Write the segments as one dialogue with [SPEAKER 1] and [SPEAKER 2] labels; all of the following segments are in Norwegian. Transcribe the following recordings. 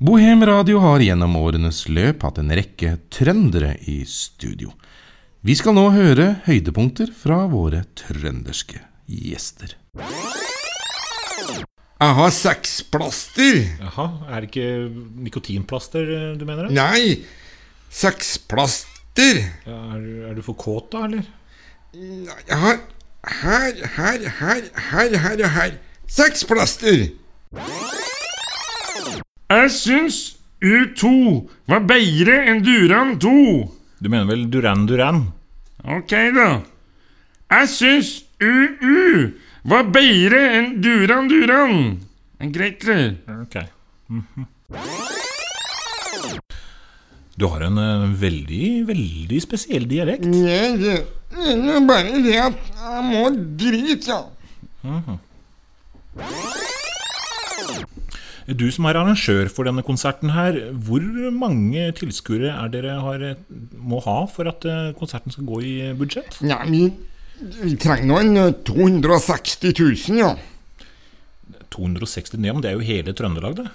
[SPEAKER 1] Bohem Radio har gjennom årenes løp hatt en rekke trøndere i studio. Vi skal nå høre høydepunkter fra våre trønderske gjester.
[SPEAKER 2] Jeg har sexplaster.
[SPEAKER 3] Jaha, Er det ikke nikotinplaster eh, du mener? det?
[SPEAKER 2] Nei, sexplaster.
[SPEAKER 3] Ja, er, er du for kåt, da, eller?
[SPEAKER 2] Jeg har her, her, her, her, her og her. Sexplaster.
[SPEAKER 4] Jeg syns U2 var bedre enn Duran 2.
[SPEAKER 3] Du mener vel Duran Duran?
[SPEAKER 4] Ok, da. Jeg syns UU var bedre enn Duran Duran. Greit, det.
[SPEAKER 3] Ok. Mhm. Du har en eh, veldig, veldig spesiell dialekt.
[SPEAKER 2] Jeg vil bare det at jeg må drite. ja.
[SPEAKER 3] Du som er arrangør for denne konserten her, hvor mange tilskuere er dere har, eh, må ha for at eh, konserten skal gå i budsjett?
[SPEAKER 2] Nei, vi, vi trenger nå en eh, 260 000, ja.
[SPEAKER 3] 260 ja, men det er jo hele Trøndelag, det.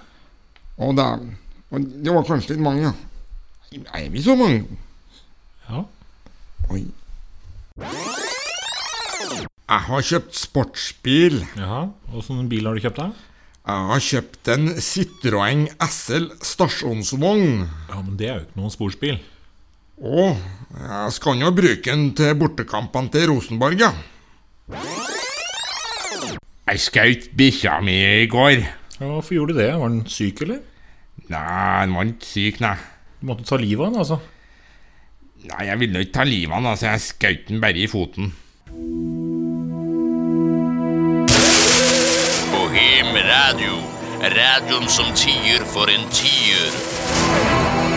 [SPEAKER 2] Og det, og det var kanskje litt mange, ja. Er vi så mange?
[SPEAKER 3] Ja.
[SPEAKER 2] Oi. Jeg har kjøpt sportsbil.
[SPEAKER 3] Jaha. Åssen bil har du kjøpt deg?
[SPEAKER 2] Jeg har kjøpt en Citroën SL stasjonsvogn.
[SPEAKER 3] Ja, men det er jo ikke noen sportsbil.
[SPEAKER 2] Og jeg skal jo bruke den til bortekampene til Rosenborg, ja.
[SPEAKER 1] Jeg skjøt bikkja mi i går.
[SPEAKER 3] Ja, Hvorfor gjorde du det? Var den syk, eller?
[SPEAKER 1] Nei, den var ikke syk, nei.
[SPEAKER 3] Du måtte ta livet av den, altså.
[SPEAKER 1] Nei, jeg ville ikke ta livet av den, altså. Jeg skjøt den bare i foten.
[SPEAKER 5] Bohem Radio. Radioen som tier for en tier.